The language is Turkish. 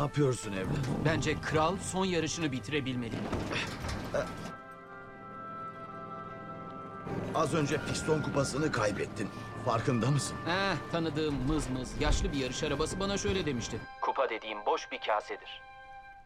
yapıyorsun evladım? Bence kral son yarışını bitirebilmeli. Az önce piston kupasını kaybettin. Farkında mısın? Eh, tanıdığım mızmız yaşlı bir yarış arabası bana şöyle demişti. Kupa dediğim boş bir kasedir.